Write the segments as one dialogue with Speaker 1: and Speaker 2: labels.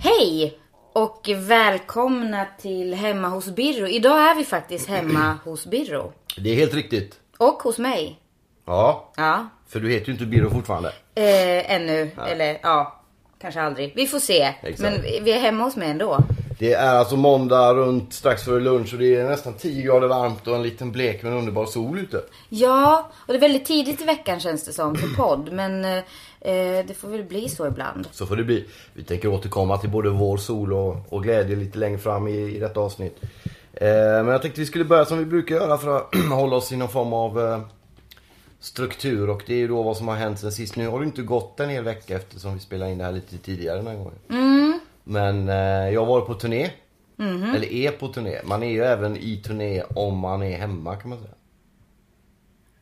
Speaker 1: Hej och välkomna till Hemma hos Birro. Idag är vi faktiskt hemma hos Birro.
Speaker 2: Det är helt riktigt.
Speaker 1: Och hos mig.
Speaker 2: Ja,
Speaker 1: Ja.
Speaker 2: för du heter ju inte Birro fortfarande.
Speaker 1: Eh, ännu. Eller ja, kanske aldrig. Vi får se.
Speaker 2: Exakt.
Speaker 1: Men vi vi är hemma hos mig ändå.
Speaker 2: Det är alltså måndag runt strax före lunch och det är nästan 10 grader varmt och en liten blek men underbar sol ute.
Speaker 1: Ja, och det är väldigt tidigt i veckan känns det som för podd. Men eh, eh, det får väl bli så ibland.
Speaker 2: Så får det bli. Vi tänker återkomma till både vår sol och, och glädje lite längre fram i, i detta avsnitt. Eh, men jag tänkte vi skulle börja som vi brukar göra för att hålla oss i någon form av eh, struktur och det är ju då vad som har hänt sen sist. Nu har det inte gått en hel vecka eftersom vi spelade in det här lite tidigare den här gången.
Speaker 1: Mm.
Speaker 2: Men eh, jag var på turné.
Speaker 1: Mm-hmm.
Speaker 2: Eller är på turné. Man är ju även i turné om man är hemma kan man säga.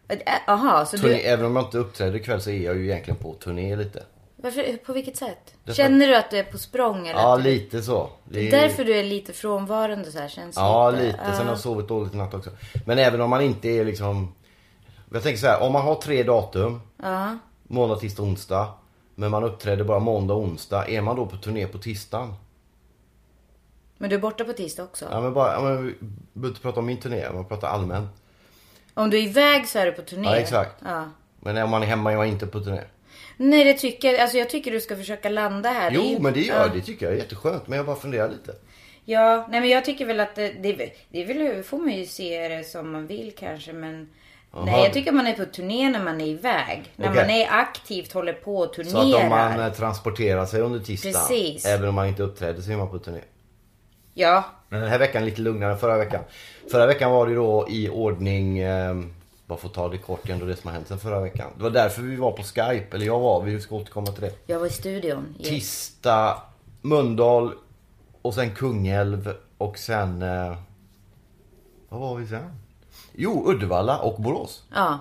Speaker 1: Eh, Jaha, så
Speaker 2: Turné,
Speaker 1: du...
Speaker 2: Även om jag inte uppträder ikväll så är jag ju egentligen på turné lite.
Speaker 1: Varför, på vilket sätt?
Speaker 2: Därför-
Speaker 1: Känner du att du är på språng? Eller
Speaker 2: Ja
Speaker 1: att du...
Speaker 2: lite så. Det är-
Speaker 1: Äh, Därför du är lite frånvarande så här känns det
Speaker 2: Ja, lite. Sen har jag sovit dåligt i natt också. Men även om man inte är liksom... Jag tänker så här, om man har tre datum.
Speaker 1: Ja.
Speaker 2: Måndag, tisdag, onsdag. Men man uppträder bara måndag, onsdag. Är man då på turné på tisdagen?
Speaker 1: Men du är borta på tisdag också?
Speaker 2: Ja, men bara... Ja, men, vi behöver inte prata om min turné, man pratar allmänt.
Speaker 1: Om du är iväg så är du på turné.
Speaker 2: Ja, exakt.
Speaker 1: Ja.
Speaker 2: Men om man är hemma är man inte på turné.
Speaker 1: Nej, det tycker jag. Alltså, jag tycker du ska försöka landa här. Det är
Speaker 2: Jo,
Speaker 1: ju-
Speaker 2: men det
Speaker 1: ja.
Speaker 2: gör det tycker jag är jätteskönt. Men jag bara funderar lite.
Speaker 1: Ja, nej men jag tycker väl att det, det, det är väl, får man ju se det som man vill kanske men Nej, jag tycker man är på turné när man är iväg. När
Speaker 2: Okej.
Speaker 1: man är aktivt håller på och
Speaker 2: Så att
Speaker 1: turnerar.
Speaker 2: om man eh, transporterar sig under tisdagen.
Speaker 1: Precis.
Speaker 2: Även om man inte uppträder så är man på turné.
Speaker 1: Ja,
Speaker 2: Men den här veckan är lite lugnare än förra veckan. Förra veckan var det då i ordning, eh, bara för att ta det kort igen då det som har hänt sen förra veckan. Det var därför vi var på Skype, eller jag var, vi ska återkomma till det.
Speaker 1: jag var i studion. i-
Speaker 2: Tista, Mölndal och sen Kungälv och sen... Eh, vad var vi sen? Jo, Uddevalla och Borås.
Speaker 1: Ja.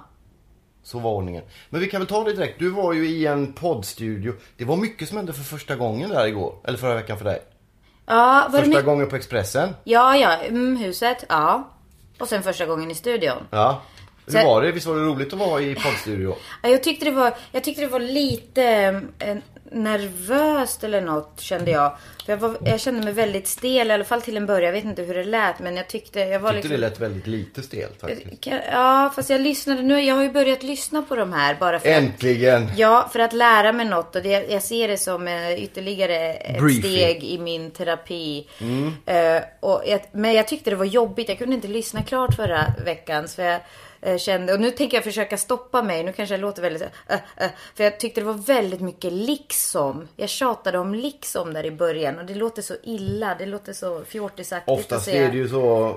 Speaker 2: Så var ordningen. Men vi kan väl ta det direkt. Du var ju i en poddstudio. Det var mycket som hände för första gången där igår. Eller förra veckan för dig.
Speaker 1: Ja, var det
Speaker 2: Första
Speaker 1: mycket?
Speaker 2: gången på Expressen.
Speaker 1: Ja, ja, mm, huset, ja. Och sen första gången i studion.
Speaker 2: Ja. Hur
Speaker 1: Så-
Speaker 2: var det? Visst var det roligt att vara i poddstudio?
Speaker 1: Ja, Jag tyckte det var, jag tyckte det var lite eh, nervöst eller något kände jag. För jag, var, jag kände mig väldigt stel i alla fall till en början. Jag vet inte hur det lät men jag tyckte jag var
Speaker 2: Jag tyckte det
Speaker 1: liksom...
Speaker 2: lät väldigt lite stelt faktiskt.
Speaker 1: Kan- Ja fast jag lyssnade nu. Jag har ju börjat lyssna på de här bara för att,
Speaker 2: Äntligen!
Speaker 1: ja, för att lära mig något. Och det, jag ser det som eh, ytterligare ett
Speaker 2: Briefing. Mm.
Speaker 1: steg i min terapi. Eh, och jag, men jag tyckte det var jobbigt. Jag kunde inte lyssna klart förra veckan. Så jag, eh, Kände, och nu tänker jag försöka stoppa mig. Nu kanske jag låter väldigt... så- eh, eh, för jag tyckte det var väldigt mycket liksom. Jag tjatade om liksom där i början. Och det låter så illa. Det låter så fjortisaktigt
Speaker 2: Oftast är det ju så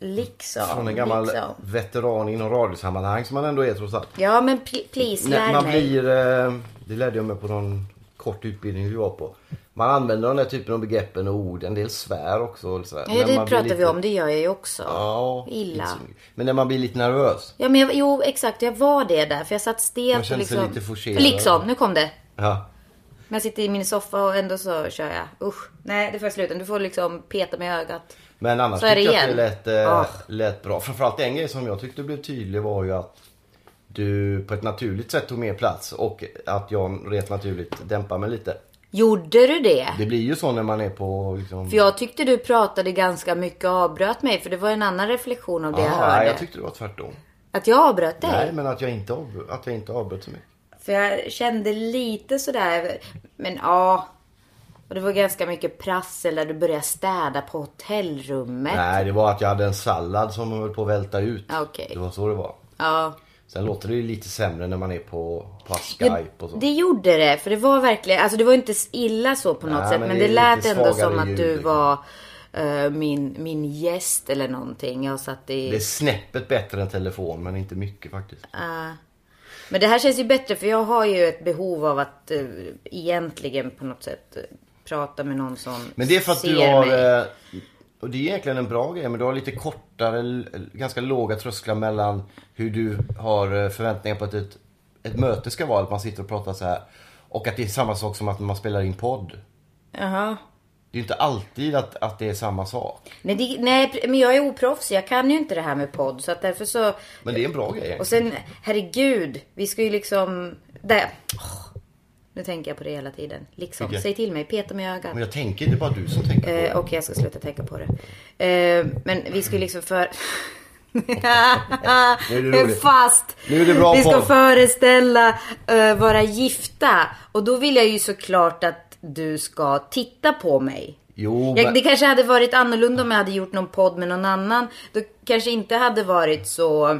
Speaker 1: liksom.
Speaker 2: från en gammal
Speaker 1: liksom.
Speaker 2: veteran inom radiosammanhang som man ändå är trots allt.
Speaker 1: Ja men pl- please, lär
Speaker 2: När man
Speaker 1: mig.
Speaker 2: blir, eh, det lärde jag mig på någon kort utbildning vi var på. Man använder den här typen av begreppen och ord, en del svär också. Och så här.
Speaker 1: Ja,
Speaker 2: När
Speaker 1: det
Speaker 2: man blir
Speaker 1: pratar vi
Speaker 2: lite-
Speaker 1: om, det gör jag ju också.
Speaker 2: Ja,
Speaker 1: Illa.
Speaker 2: inte så- Men när man blir lite nervös.
Speaker 1: Ja men jag, jo exakt, jag var det där. För jag satt
Speaker 2: Man
Speaker 1: stelt och
Speaker 2: känner sig
Speaker 1: liksom.
Speaker 2: lite forcerad.
Speaker 1: Liksom, nu kom det.
Speaker 2: Ja.
Speaker 1: Men jag sitter i min soffa och ändå så kör jag. Usch. Nej, det får jag sluta. Du får liksom peta mig i ögat.
Speaker 2: Men annars
Speaker 1: Så är det
Speaker 2: tycker jag att det
Speaker 1: igen.
Speaker 2: lät, eh,
Speaker 1: Ah.
Speaker 2: lät bra. Framförallt en grej som jag tyckte blev tydlig var ju att du på ett naturligt sätt tog mer plats och att jag rent naturligt dämpade mig lite.
Speaker 1: Gjorde du det?
Speaker 2: Det blir ju så när man är på liksom...
Speaker 1: För jag tyckte du pratade ganska mycket och avbröt mig. För det var en annan reflektion av det jag
Speaker 2: Aha,
Speaker 1: hörde.
Speaker 2: nej, jag tyckte det var tvärtom.
Speaker 1: Att jag avbröt dig.
Speaker 2: Nej men att jag inte, av, att jag inte avbröt så mycket.
Speaker 1: För jag kände lite sådär, men ja. Och det var ganska mycket prassel där du började städa på hotellrummet.
Speaker 2: Nej det var att jag hade en sallad som höll på att välta ut.
Speaker 1: Ah, okej.
Speaker 2: Det var så det var.
Speaker 1: Ja.
Speaker 2: Sen låter det ju lite sämre när man är på, på Skype och så.
Speaker 1: Det gjorde det, för det var verkligen, alltså det var inte illa så på något
Speaker 2: Nej,
Speaker 1: sätt.
Speaker 2: men
Speaker 1: Men
Speaker 2: det
Speaker 1: det,
Speaker 2: är
Speaker 1: lät
Speaker 2: lite
Speaker 1: ändå
Speaker 2: svagare
Speaker 1: som att
Speaker 2: ljud,
Speaker 1: du
Speaker 2: liksom.
Speaker 1: var eh, min, min gäst eller någonting. Jag satt i...
Speaker 2: Det är snäppet bättre än telefon men inte mycket faktiskt.
Speaker 1: Ah. Men det här känns ju bättre för jag har ju ett behov av att eh, egentligen på något sätt eh, prata med någon som
Speaker 2: Men det är för att
Speaker 1: ser
Speaker 2: du har...
Speaker 1: mig.
Speaker 2: eh, Och det är egentligen en bra grej men du har lite kortare, l- ganska låga trösklar mellan hur du har eh, förväntningar på att ett, ett möte ska vara. Att man sitter och pratar så här. Och att det är samma sak som att man spelar in podd.
Speaker 1: Jaha.
Speaker 2: Det är ju inte alltid att, att det är samma sak.
Speaker 1: Nej, det, nej, pr- men jag är oproffsig. Jag kan ju inte det här med podd så att därför så...
Speaker 2: Men det är en bra grej.
Speaker 1: Och sen, herregud. Vi ska ju liksom... Där. Åh. nu tänker jag på det hela tiden. Liksom,
Speaker 2: Okej.
Speaker 1: säg till mig. Peta mig i ögat.
Speaker 2: Men jag tänker, det är bara du som tänker på det.
Speaker 1: Eh, och jag ska sluta tänka på det. Eh, men vi ska ju liksom för...
Speaker 2: roligt.
Speaker 1: Fast!
Speaker 2: Nu är det bra
Speaker 1: vi ska
Speaker 2: podd.
Speaker 1: föreställa eh, vara gifta. Och då vill jag ju såklart att du ska titta på mig.
Speaker 2: Jo,
Speaker 1: Jag,
Speaker 2: men-
Speaker 1: det kanske hade varit annorlunda om jag hade gjort någon podd med någon annan. Då kanske inte hade varit så...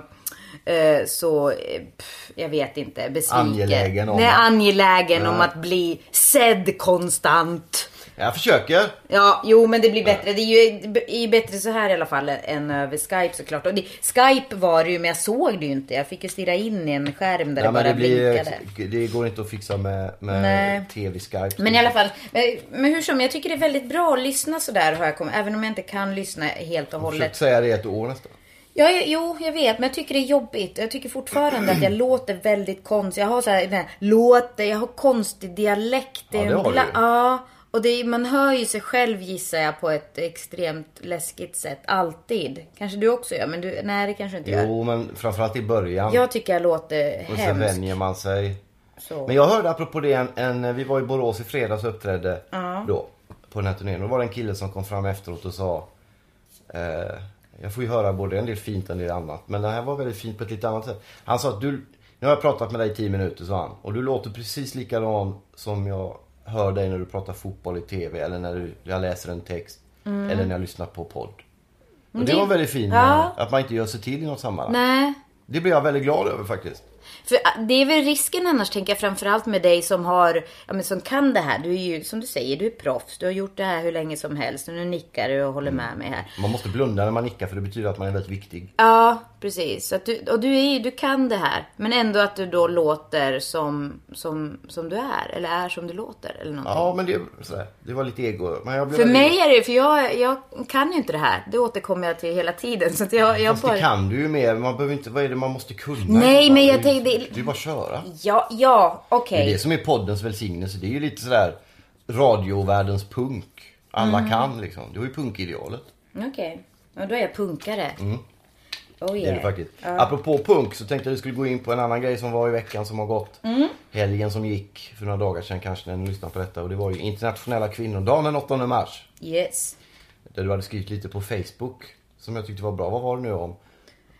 Speaker 1: eh, Så, eh, pff, jag vet inte, besviken.
Speaker 2: Angelägen om
Speaker 1: Nej,
Speaker 2: att-
Speaker 1: angelägen om att bli sedd konstant.
Speaker 2: Jag försöker.
Speaker 1: Ja, jo men det blir bättre. Det är ju, det är ju bättre så här i alla fall än över Skype såklart. Och det, Skype var det ju men jag såg det ju inte. Jag fick ju stirra in i en skärm där
Speaker 2: Nej,
Speaker 1: det
Speaker 2: men
Speaker 1: bara
Speaker 2: det,
Speaker 1: blinkade.
Speaker 2: blir, det går inte att fixa med,
Speaker 1: Nej.
Speaker 2: med tv-skype.
Speaker 1: Men i alla fall, men, men hur som, jag tycker det är väldigt bra att lyssna sådär har jag kommit, även om jag inte kan lyssna helt och
Speaker 2: Jag har försökt
Speaker 1: hållet.
Speaker 2: säga det i ett år nästan.
Speaker 1: Ja, jag- jo, jag vet, men jag tycker det är jobbigt. Jag tycker fortfarande att jag låter väldigt konstig. Jag har så här, den här, låter, jag har konstig dialekt.
Speaker 2: Ja, det
Speaker 1: en
Speaker 2: har du
Speaker 1: gla-
Speaker 2: ju.
Speaker 1: Ja, och det, är- man hör ju sig själv gissar jag på ett extremt läskigt sätt. Alltid. Kanske du också gör, men du, nej det kanske inte gör.
Speaker 2: Jo, men framförallt i början.
Speaker 1: Jag tycker jag låter
Speaker 2: och sen
Speaker 1: hemskt.
Speaker 2: vänjer man sig.
Speaker 1: Så.
Speaker 2: Men jag hörde apropå det, en, en, vi var i Borås i fredags och uppträdde då. På den här turnén. Och då var det en kille som kom fram efteråt och sa eh, Jag får ju höra både en del fint och en del annat. Men det här var väldigt fint på ett lite annat sätt. Han sa att du, nu har jag pratat med dig i 10 minuter sa han. Och du låter precis likadan som jag hör dig när du pratar fotboll i TV. Eller när du, jag läser en text. Eller när jag lyssnar på podd. Och det
Speaker 1: Mm. det-
Speaker 2: var väldigt fint.
Speaker 1: Ja.
Speaker 2: Att man inte gör sig till i något sammanhang.
Speaker 1: Nej.
Speaker 2: Det blir jag väldigt glad över faktiskt.
Speaker 1: För ah, det är väl risken annars tänker jag framförallt med dig som har, ja men som kan det här. Du är ju, som du säger, du är proffs. Du har gjort det här hur länge som helst. Och nu nickar du och
Speaker 2: Mm.
Speaker 1: håller med mig här.
Speaker 2: Man måste blunda när man nickar för det betyder att man är väldigt viktig.
Speaker 1: Ja, precis. Så Att du, och du, är, ju- du kan det här. Men ändå att du då låter som, som, som du är. Eller är som du låter. Eller någonting.
Speaker 2: Ja, men det, sådär, det var lite ego. Men jag blev
Speaker 1: För
Speaker 2: väldigt-
Speaker 1: mig är det för jag, jag kan ju inte det här. Det återkommer jag till hela tiden. Så att jag, jag
Speaker 2: Fast det
Speaker 1: bara...
Speaker 2: kan du ju mer. Man behöver inte, vad är det man måste kunna?
Speaker 1: Nej, men jag
Speaker 2: Det är ju-
Speaker 1: tänkte-
Speaker 2: Det är bara att köra.
Speaker 1: Ja, ja,
Speaker 2: Det
Speaker 1: okej.
Speaker 2: är det som är poddens välsignelse. Det är ju lite sådär radiovärldens punk. Alla
Speaker 1: Mm.
Speaker 2: kan liksom. Det var ju punkidealet.
Speaker 1: Okej. Ja, då är jag punkare. Oh, yeah.
Speaker 2: Mm. Det är det faktiskt. Apropå punk så tänkte jag att vi skulle gå in på en annan grej som var i veckan som har gått.
Speaker 1: Mm.
Speaker 2: Helgen som gick för några dagar sedan kanske när ni lyssnade på detta. Och det var ju internationella kvinnodagen den 8 mars.
Speaker 1: Yes.
Speaker 2: Där du hade skrivit lite på Facebook som jag tyckte var bra. Vad var det nu om?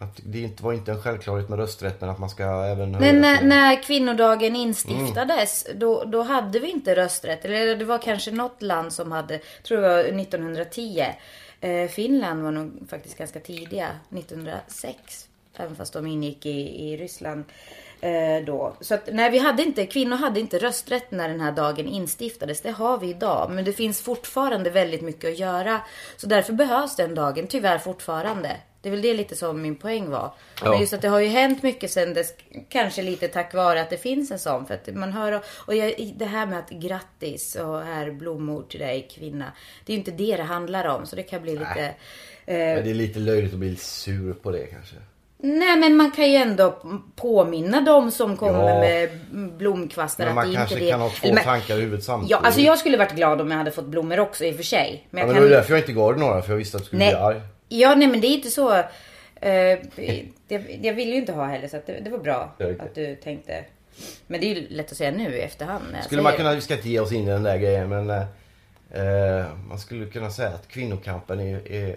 Speaker 2: Att det inte var inte en självklarhet med rösträtt men att man ska även höja
Speaker 1: Men när,
Speaker 2: sig.
Speaker 1: när kvinnodagen instiftades, då, då hade vi inte rösträtt. Eller det var kanske något land som hade, tror jag var 1910. Eh, Finland var nog faktiskt ganska tidiga, 1906. Även fast de ingick i, i Ryssland eh, då. Så att, nej, vi hade inte, kvinnor hade inte rösträtt när den här dagen instiftades. Det har vi idag. Men det finns fortfarande väldigt mycket att göra. Så därför behövs den dagen, tyvärr fortfarande. Det är väl det lite som min poäng var.
Speaker 2: Ja.
Speaker 1: Men just att det har ju hänt mycket sen dess. Kanske lite tack vare att det finns en sån. För att man hör och jag, det här med att grattis och här blommor till dig kvinna. Det är ju inte det det handlar om. Så det kan bli lite... eh,
Speaker 2: Men det är lite löjligt att bli sur på det kanske.
Speaker 1: Nej men man kan ju ändå påminna dem som kommer
Speaker 2: Ja.
Speaker 1: med blomkvastar
Speaker 2: Men
Speaker 1: att
Speaker 2: man
Speaker 1: det
Speaker 2: kanske
Speaker 1: inte det.
Speaker 2: kan ha två
Speaker 1: Eller, men-
Speaker 2: tankar i huvudet samtidigt.
Speaker 1: Ja, alltså jag skulle varit glad om jag hade fått blommor också i och för sig. Men jag
Speaker 2: ja, men
Speaker 1: kan...
Speaker 2: det var därför jag inte gav dig några för jag visste att du skulle
Speaker 1: Nej.
Speaker 2: bli arg.
Speaker 1: Ja, nej men det är inte så. eh, jag, jag vill ju inte ha heller så att det, det var bra
Speaker 2: Ja, okej.
Speaker 1: att du tänkte. Men det är ju lätt att säga nu i efterhand. när jag
Speaker 2: Skulle man
Speaker 1: säger
Speaker 2: kunna, vi ska inte ge oss in i den där grejen men eh, eh, man skulle kunna säga att kvinnokampen är, är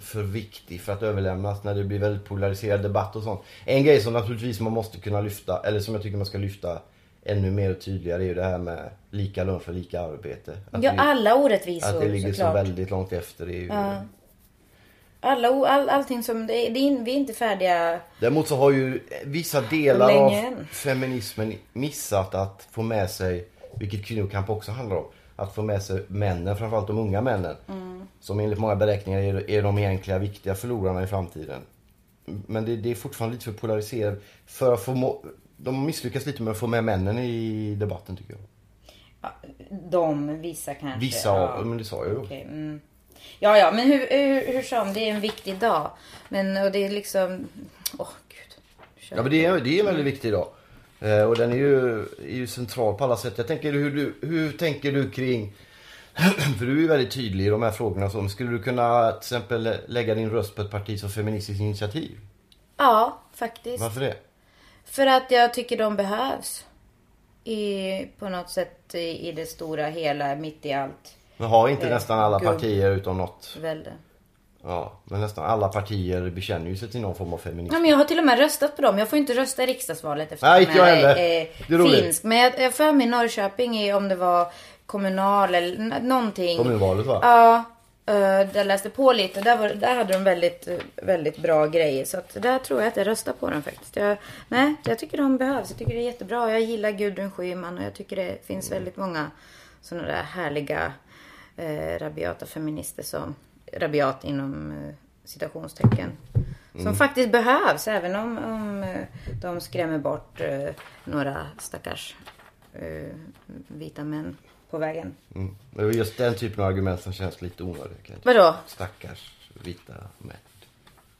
Speaker 2: för viktig för att överlämnas när det blir väldigt polariserad debatt och sånt. En grej som naturligtvis man måste kunna lyfta, eller som jag tycker man ska lyfta ännu mer och tydligare är ju det här med lika lön för lika arbete. Att
Speaker 1: det. Ja,
Speaker 2: vi-
Speaker 1: alla orättvisor
Speaker 2: Att det ligger så
Speaker 1: såklart.
Speaker 2: väldigt långt efter det är ju...
Speaker 1: Alla, o- all, allting som, det, är- det, är- vi är inte färdiga.
Speaker 2: Däremot så har ju vissa delar
Speaker 1: Länge
Speaker 2: av
Speaker 1: än.
Speaker 2: feminismen missat att få med sig, vilket kvinnokamp också handlar om, att få med sig männen, framförallt de unga männen. Som enligt många beräkningar är, är de egentliga viktiga förlorarna i framtiden. Men det, det är fortfarande lite för polariserat. För att få må, de misslyckas lite med att få med männen i debatten tycker jag.
Speaker 1: Ja, De, vissa kanske.
Speaker 2: Vissa
Speaker 1: ja.
Speaker 2: av, men det sa jag ju.
Speaker 1: Okej, mm. Ja, ja, men hur, hur, hur som, det är en viktig dag. Men och det är liksom, åh gud. Kör.
Speaker 2: Ja men det är, det är en väldigt viktig dag. Eh, och den är ju, är ju central på alla sätt. Jag tänker hur, du, hur tänker du kring, för du är ju väldigt tydlig i de här frågorna. Så, skulle du kunna till exempel lägga din röst på ett parti som Feministiskt initiativ?
Speaker 1: Ja, faktiskt.
Speaker 2: Varför det?
Speaker 1: För att jag tycker de behövs. I, på något sätt i, i det stora hela, mitt i allt
Speaker 2: Men har inte
Speaker 1: Eh,
Speaker 2: nästan alla
Speaker 1: gubb.
Speaker 2: partier utom något.
Speaker 1: välde.
Speaker 2: Ja, men nästan alla partier bekänner ju sig till någon form av feminism.
Speaker 1: Ja, men jag har till och med röstat på dem. Jag får inte rösta i riksdagsvalet eftersom
Speaker 2: Nej, inte jag heller. Det är roligt.
Speaker 1: finsk. Men jag, jag för mig Norrköping är om det var kommunal eller n- någonting.
Speaker 2: Kommunvalet va?
Speaker 1: Ja, eh, jag läste på lite. Där, var, där hade de väldigt, eh, väldigt bra grejer. Så att där tror jag att jag röstar på dem faktiskt. Jag, nej, jag tycker de behövs. Jag tycker det är jättebra. Jag gillar Gudrun Schyman och jag tycker det finns väldigt många sådana där härliga eh, rabiata feminister som, rabiat inom eh, citationstecken. Som faktiskt behövs även om, om eh, de skrämmer bort eh, några stackars eh, vita män på vägen.
Speaker 2: Mm. Det är just den typen av argument som känns lite onödiga. kan jag tycka.
Speaker 1: Vadå?
Speaker 2: Stackars vita män.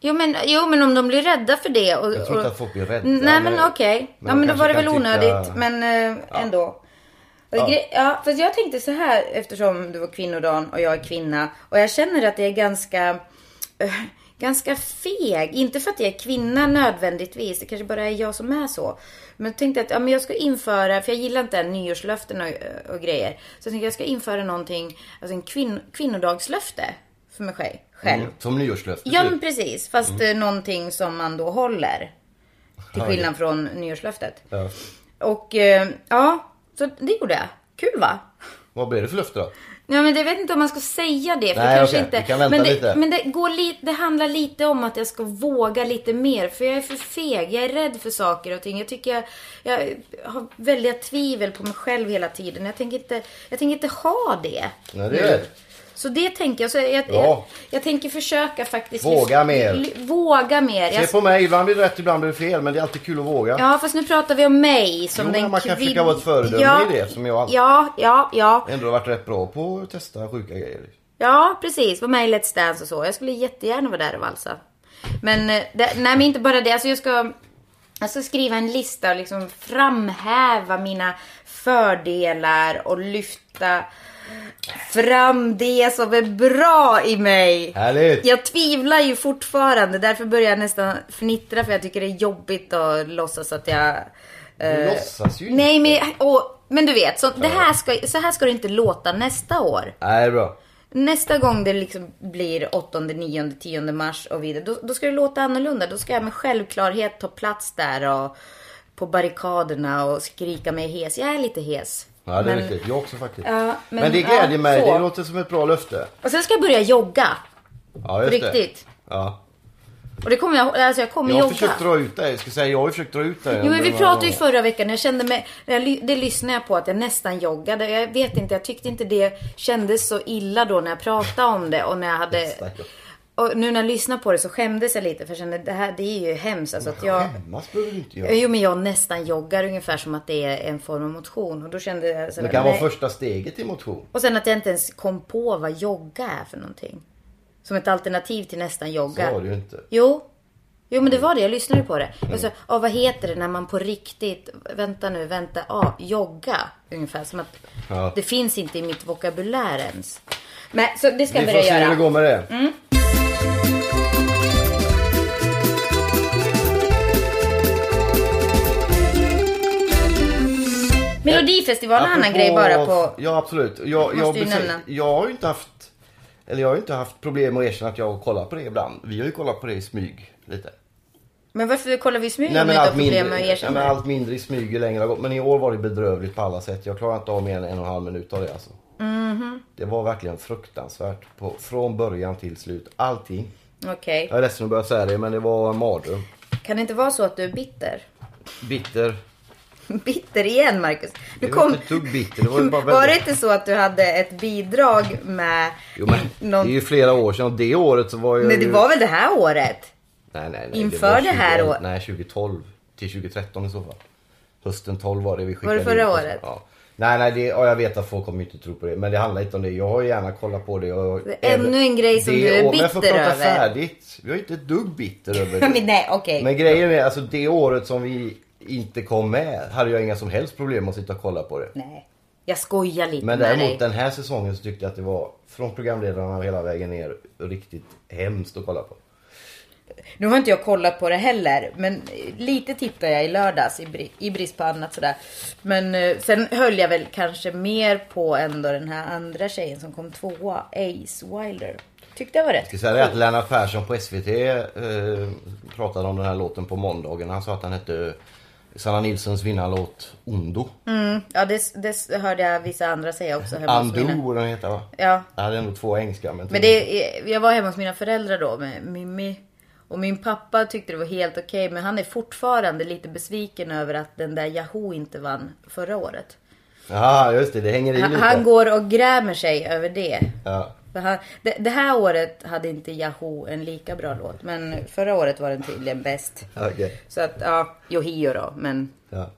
Speaker 1: Jo men, jo men om de blir rädda för det. Och,
Speaker 2: Jag tror inte
Speaker 1: och-
Speaker 2: att folk blir rädda,
Speaker 1: Nej men
Speaker 2: men-
Speaker 1: okej.
Speaker 2: men
Speaker 1: Ja
Speaker 2: de
Speaker 1: men då
Speaker 2: kanske
Speaker 1: var det
Speaker 2: kan
Speaker 1: väl onödigt.
Speaker 2: tycka-
Speaker 1: Men eh, ändå. Ja. ja fast jag tänkte så här eftersom det var kvinnodagen och jag är kvinna. Och jag känner att det är ganska eh, Ganska feg. Inte för att jag är kvinna nödvändigtvis. Det kanske bara är jag som är så. Men jag tänkte att ja, men jag ska införa, för jag gillar inte nyårslöften och, och grejer. Så jag tänkte att jag ska införa någonting, alltså en kvinn, kvinnodagslöfte för mig själv. själv.
Speaker 2: Mm. Som nyårslöfte
Speaker 1: Ja
Speaker 2: typ.
Speaker 1: men precis, fast eh, någonting som man då håller. Till
Speaker 2: Ja,
Speaker 1: skillnad från nyårslöftet.
Speaker 2: Ja.
Speaker 1: Och eh, ja, så det gjorde jag. Kul va?
Speaker 2: Vad blir det för löfte då?
Speaker 1: Ja, men jag vet inte om man ska säga det. För
Speaker 2: Nej,
Speaker 1: det kanske
Speaker 2: okej.
Speaker 1: inte,
Speaker 2: Vi kan vänta
Speaker 1: men det,
Speaker 2: lite.
Speaker 1: Men det, går li, det handlar lite om att jag ska våga lite mer. För jag är för feg. Jag är rädd för saker och ting. Jag tycker jag, jag har väldiga tvivel på mig själv hela tiden. Jag tänker inte, jag tänker inte ha det.
Speaker 2: Nej, det är det.
Speaker 1: Så det tänker jag. Så jag, jag,
Speaker 2: Ja.
Speaker 1: jag, jag tänker försöka faktiskt. liksom
Speaker 2: Våga mer.
Speaker 1: våga mer. Jag
Speaker 2: Se på mig, ibland blir det rätt, ibland blir det fel. Men det är alltid kul att våga.
Speaker 1: Ja, fast nu pratar vi om mig som
Speaker 2: Jo,
Speaker 1: den
Speaker 2: men man kan
Speaker 1: kvinn-
Speaker 2: försöka vara ett föredöme i det, som jag alltid-
Speaker 1: Ja, ja, ja.
Speaker 2: Ändå har varit rätt bra på att testa sjuka grejer.
Speaker 1: Ja, precis. Var med i Let's Dance och så. Jag skulle jättegärna vara där och valsa. Men, eh, det, nej men inte bara det. Alltså jag ska, jag ska skriva en lista och liksom framhäva mina fördelar och lyfta fram det som är bra i mig.
Speaker 2: Härligt!
Speaker 1: Jag tvivlar ju fortfarande. Därför börjar jag nästan fnittra för jag tycker det är jobbigt att låtsas att jag... eh,
Speaker 2: Du låtsas ju
Speaker 1: Nej men, och, men du vet, så, det här ska, så här ska det inte låta nästa år.
Speaker 2: Nej, det är bra.
Speaker 1: Nästa gång det liksom blir 8, 9, 10 mars och vidare, då, då ska det låta annorlunda. Då ska jag med självklarhet ta plats där och på barrikaderna och skrika mig hes. Jag är lite hes.
Speaker 2: Ja, det är
Speaker 1: Men-
Speaker 2: riktigt. Jag också faktiskt.
Speaker 1: Ja,
Speaker 2: men,
Speaker 1: men-
Speaker 2: det gläder
Speaker 1: ja,
Speaker 2: mig.
Speaker 1: så.
Speaker 2: Det låter som ett bra löfte.
Speaker 1: Och sen ska jag börja jogga.
Speaker 2: Ja, just
Speaker 1: Riktigt.
Speaker 2: Det. Ja.
Speaker 1: Och det kommer jag, alltså jag kommer
Speaker 2: Jag har
Speaker 1: jogga.
Speaker 2: försökt dra ut dig. Jag ska säga, jag har ju försökt dra ut dig.
Speaker 1: Jo men vi
Speaker 2: Det var-
Speaker 1: pratade ju förra veckan, jag kände mig, när jag ly- det lyssnade jag på att jag nästan joggade. Jag vet inte, jag tyckte inte det kändes så illa då när jag pratade om det och när jag hade...
Speaker 2: Nästan, ja.
Speaker 1: Och nu när jag lyssnar på det så skämdes jag lite för jag kände det här det är ju hemskt. Alltså att jag...
Speaker 2: Skämmas behöver du inte göra.
Speaker 1: Jo men jag nästan joggar ungefär som att det är en form av motion och då kände jag så här,
Speaker 2: Det kan vara
Speaker 1: nej.
Speaker 2: första steget i motion.
Speaker 1: Och sen att jag inte ens kom på vad jogga är för någonting. Som ett alternativ till nästan
Speaker 2: Så
Speaker 1: jogga.
Speaker 2: har du Mm. ju inte.
Speaker 1: Jo. Jo men det var det, jag lyssnade på det. Jag sa, ah, vad heter det när man på riktigt, vänta nu, vänta, ah, jogga. Ungefär som att
Speaker 2: Ja.
Speaker 1: det finns inte i mitt vokabulär ens. Men så det ska jag
Speaker 2: Vi får
Speaker 1: börja
Speaker 2: se hur det
Speaker 1: göra.
Speaker 2: går med det.
Speaker 1: Melodifestivalen är en annan
Speaker 2: Apropå-
Speaker 1: grej bara på...
Speaker 2: Ja absolut. Jag, jag,
Speaker 1: Måste ju
Speaker 2: precis-
Speaker 1: nämna.
Speaker 2: jag har ju inte haft... Eller jag har ju inte haft problem att erkänna att jag har kollat på det ibland. Vi har ju kollat på det i smyg lite.
Speaker 1: Men varför kollar vi i smyg om vi inte har problem med att
Speaker 2: nej, men
Speaker 1: erkänna?
Speaker 2: allt mindre i smyg ju längre har gått. Men i år var det bedrövligt på alla sätt. Jag klarar inte av mer än en och en halv minut av det
Speaker 1: Mhm.
Speaker 2: alltså. Det var verkligen fruktansvärt. På, från början till slut. Allting.
Speaker 1: Okej.
Speaker 2: Jag är ledsen att behöva säga det, men det var en mardröm.
Speaker 1: Kan det inte vara så att du är bitter?
Speaker 2: Bitter.
Speaker 1: Bitter igen Marcus. Du
Speaker 2: Det var inte ett dugg bitter, det var ju bara väldigt-
Speaker 1: var det inte så att du hade ett bidrag med
Speaker 2: Jo men,
Speaker 1: någon...
Speaker 2: det är ju flera år sedan och det året så var jag
Speaker 1: Nej det
Speaker 2: ju...
Speaker 1: var väl det här året?
Speaker 2: Nej, nej, nej.
Speaker 1: Inför
Speaker 2: var
Speaker 1: det här
Speaker 2: 2011
Speaker 1: året?
Speaker 2: Nej, 2012 till 2013 i så fall. Hösten 12 var det vi skickade
Speaker 1: Var det förra
Speaker 2: in.
Speaker 1: året?
Speaker 2: Ja. Nej, nej, det, ja, jag vet att folk kommer ju inte tro på det. Men det handlar inte om det. Jag har ju gärna kollat på det. Och,
Speaker 1: Det är ännu en grej som
Speaker 2: det
Speaker 1: du är
Speaker 2: år- Men jag får
Speaker 1: bitter
Speaker 2: prata
Speaker 1: över.
Speaker 2: färdigt. Jag är inte ett dugg bitter över det.
Speaker 1: Men nej okej.
Speaker 2: Men grejen är, alltså det året som vi inte kom med hade jag inga som helst problem att sitta och kolla på det.
Speaker 1: Nej. Jag skojar lite
Speaker 2: Men
Speaker 1: med
Speaker 2: däremot
Speaker 1: dig.
Speaker 2: den här säsongen så tyckte jag att det var från programledarna och hela vägen ner riktigt hemskt att kolla på.
Speaker 1: Nu har inte jag kollat på det heller, men eh, lite tittade jag i lördags i, bri- i brist på annat sådär. Men eh, sen höll jag väl kanske mer på ändå den här andra tjejen som kom tvåa, Ace Wilder. Tyckte jag var rätt.
Speaker 2: Jag ska säga det att Lennart Persson på SVT eh, pratade om den här låten på måndagen. Han sa att den hette Sanna Nilssons vinnarlåt Ondo.
Speaker 1: Mm. Ja, det, det hörde jag vissa andra säga också hemma hos mina.
Speaker 2: Undo den heter va?
Speaker 1: Ja.
Speaker 2: Ja, det är nog två engelska. Men,
Speaker 1: Men det, är- jag var hemma hos mina föräldrar då med Mimmi. Och min pappa tyckte det var helt okej, men han är fortfarande lite besviken över att den där Yahoo inte vann förra året.
Speaker 2: Ja, just det. Det hänger i
Speaker 1: Han,
Speaker 2: lite.
Speaker 1: han går och grämer sig över det.
Speaker 2: Ja.
Speaker 1: För han, det, det här året hade inte Yahoo en lika bra låt, men förra året var den tydligen bäst.
Speaker 2: okej.
Speaker 1: Så att ja, Yohio då, men
Speaker 2: Ja.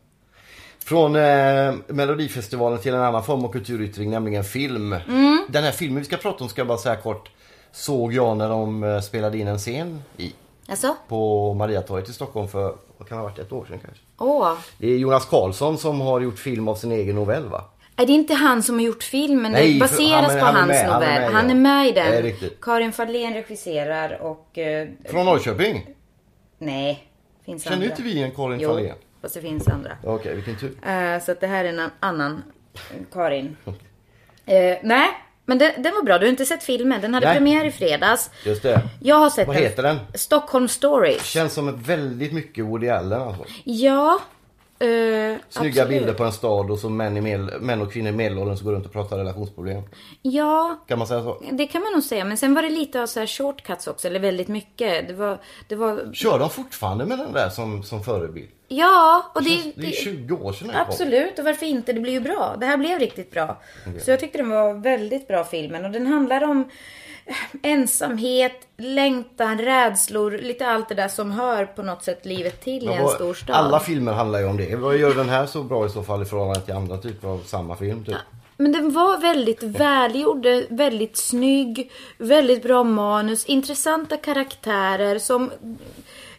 Speaker 2: Från eh, Melodifestivalen till en annan form av kulturyttring, nämligen film.
Speaker 1: Mm.
Speaker 2: Den här filmen vi ska prata om, ska jag bara säga kort, såg jag när de eh, spelade in en scen i,
Speaker 1: alltså,
Speaker 2: på Mariatorget i Stockholm för, vad kan det ha varit, ett år sedan kanske.
Speaker 1: åh.
Speaker 2: Det är Jonas Karlsson som har gjort film av sin egen novell va?
Speaker 1: Är det inte han som har gjort filmen? det
Speaker 2: Nej, för-
Speaker 1: baseras
Speaker 2: han är-
Speaker 1: på
Speaker 2: han är
Speaker 1: hans
Speaker 2: med, han
Speaker 1: novell.
Speaker 2: är med i
Speaker 1: Han är
Speaker 2: den.
Speaker 1: med i den.
Speaker 2: Det är riktigt.
Speaker 1: Karin Fahlén regisserar och... Eh,
Speaker 2: Från Norrköping?
Speaker 1: nej, finns
Speaker 2: Känner
Speaker 1: andra.
Speaker 2: inte vi en Karin
Speaker 1: Jo,
Speaker 2: Fahlén?
Speaker 1: fast det finns andra.
Speaker 2: Okej, vilken tur.
Speaker 1: Eh, så att det här är en annan Karin. Eh, nej, men den, den var bra. Du har inte sett filmen. Den hade
Speaker 2: Nej.
Speaker 1: premiär i fredags.
Speaker 2: Just det.
Speaker 1: Jag har sett
Speaker 2: Vad heter den?
Speaker 1: Stockholm Stories.
Speaker 2: Känns som ett väldigt mycket Woody Allen alltså.
Speaker 1: Ja. eh,
Speaker 2: Snygga
Speaker 1: absolut.
Speaker 2: bilder på en stad och så män, i medel- män och kvinnor i medelåldern som går runt och pratar relationsproblem.
Speaker 1: Ja,
Speaker 2: Kan man säga så?
Speaker 1: det kan man nog säga. Men sen var det lite av så här shortcuts också. Eller väldigt mycket. Det var... Det var
Speaker 2: Kör de fortfarande med den där som, som förebild?
Speaker 1: ja, och det...
Speaker 2: Det är 20 år sedan den kom.
Speaker 1: Absolut, och varför inte? Det blir ju bra. Det här blev riktigt bra. Så jag tyckte den var väldigt bra filmen. Och den handlar om eh, ensamhet, längtan, rädslor, lite allt det där som hör på något sätt livet till i
Speaker 2: Men
Speaker 1: en
Speaker 2: vad-
Speaker 1: stor stad.
Speaker 2: Alla filmer handlar ju om det. Vad gör den här så bra i så fall i förhållande till andra typer av samma film? Typ?
Speaker 1: Men den var väldigt välgjord, väldigt snygg, väldigt bra manus, intressanta karaktärer som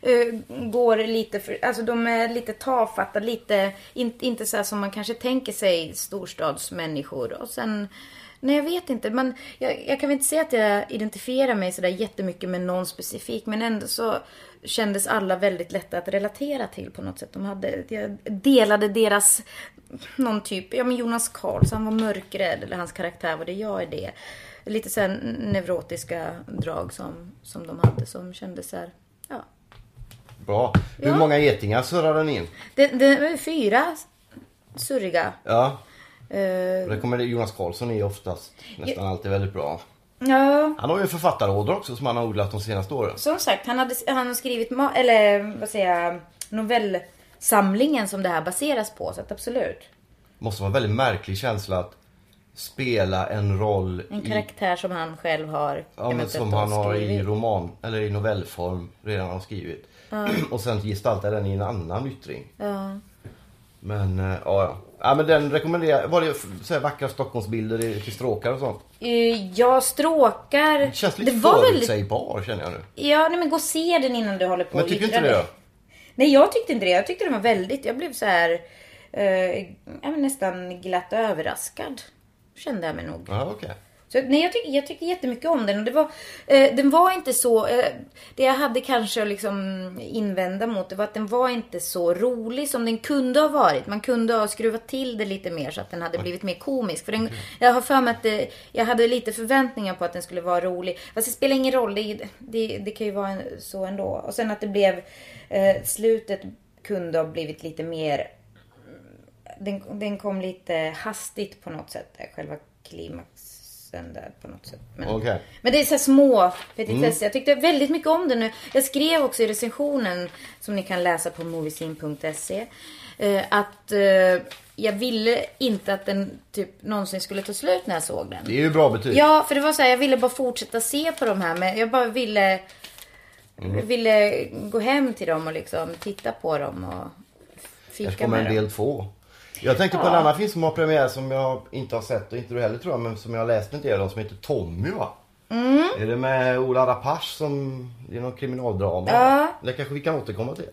Speaker 1: eh, går lite för, alltså de är lite tafatta, lite, in, inte så här som man kanske tänker sig storstadsmänniskor. Och sen, nej jag vet inte, man, jag, jag kan väl inte säga att jag identifierar mig sådär jättemycket med någon specifik, men ändå så kändes alla väldigt lätta att relatera till på något sätt. De hade, jag delade deras någon typ, ja men Jonas Karlsson var mörkrädd, eller hans karaktär var det, jag är det. Lite så här neurotiska drag som, som de hade som kändes så här, ja.
Speaker 2: Bra. Hur
Speaker 1: Ja.
Speaker 2: många getingar surrar den in?
Speaker 1: Det, det var ju fyra surriga.
Speaker 2: Ja,
Speaker 1: Eh,
Speaker 2: rekommenderar Jonas Karlsson är ju oftast nästan alltid väldigt bra.
Speaker 1: ja,
Speaker 2: Han har ju en författaråder också som han har odlat de senaste åren.
Speaker 1: som sagt, han hade han har skrivit, ma- eller vad säger jag, novellsamlingen som det här baseras på, så att absolut.
Speaker 2: Måste vara en väldigt märklig känsla att spela en roll
Speaker 1: En
Speaker 2: i,
Speaker 1: karaktär som han själv har
Speaker 2: ja, men som han har i roman eller i novellform redan har skrivit. Och sen gestalta den i en annan yttring.
Speaker 1: Ja.
Speaker 2: Men eh, ja, ja. Ja men den rekommenderar jag. Var det f- så här vackra Stockholmsbilder i- till stråkar och sånt?
Speaker 1: Eh, Jag stråkar...
Speaker 2: Det känns lite
Speaker 1: det var väldigt
Speaker 2: förutsägbar känner jag nu.
Speaker 1: Ja, nej men gå och se den innan du håller på
Speaker 2: Men
Speaker 1: och
Speaker 2: tycker du
Speaker 1: yttrar
Speaker 2: inte det
Speaker 1: dig. Nej, jag tyckte inte det. Jag tyckte den var väldigt... Jag blev så här... Eh, ja, men nästan glatt överraskad. Kände jag mig nog.
Speaker 2: Ja, okej.
Speaker 1: Så, nej, jag, tyck, jag tyckte jättemycket om den. Och det var, eh, den var inte så... Eh, det jag hade kanske att liksom invända mot det var att den var inte så rolig som den kunde ha varit. Man kunde ha skruvat till det lite mer så att den hade blivit mer komisk. För den, jag har för mig att det, jag hade lite förväntningar på att den skulle vara rolig. Fast det spelar ingen roll. Det, det, det kan ju vara en, så ändå. Och sen att det blev... Eh, slutet kunde ha blivit lite mer den, den kom lite hastigt på något sätt, där, själva klimax sen där på något sätt. Men,
Speaker 2: Okej. Mm.
Speaker 1: men det är så här små petitesser. Jag tyckte väldigt mycket om det nu. Jag skrev också i recensionen som ni kan läsa på moviesin.se eh, att eh, jag ville inte att den typ någonsin skulle ta slut när jag såg den.
Speaker 2: Det är ju bra betyg.
Speaker 1: Ja, för det var så här, jag ville bara fortsätta se på de här. Men jag bara ville,
Speaker 2: Mm.
Speaker 1: ville gå hem till dem och liksom titta på dem och
Speaker 2: Kanske
Speaker 1: fika
Speaker 2: kommer
Speaker 1: med
Speaker 2: en
Speaker 1: dem.
Speaker 2: del två. Jag tänkte på en annan film som har premiär som jag inte har sett och inte du heller tror jag, men som jag har läst en del om som heter Tommy va?
Speaker 1: Mm.
Speaker 2: Är det med Ola Rapace som, det är någon kriminaldrama?
Speaker 1: Ja.
Speaker 2: Det kanske vi kan återkomma till?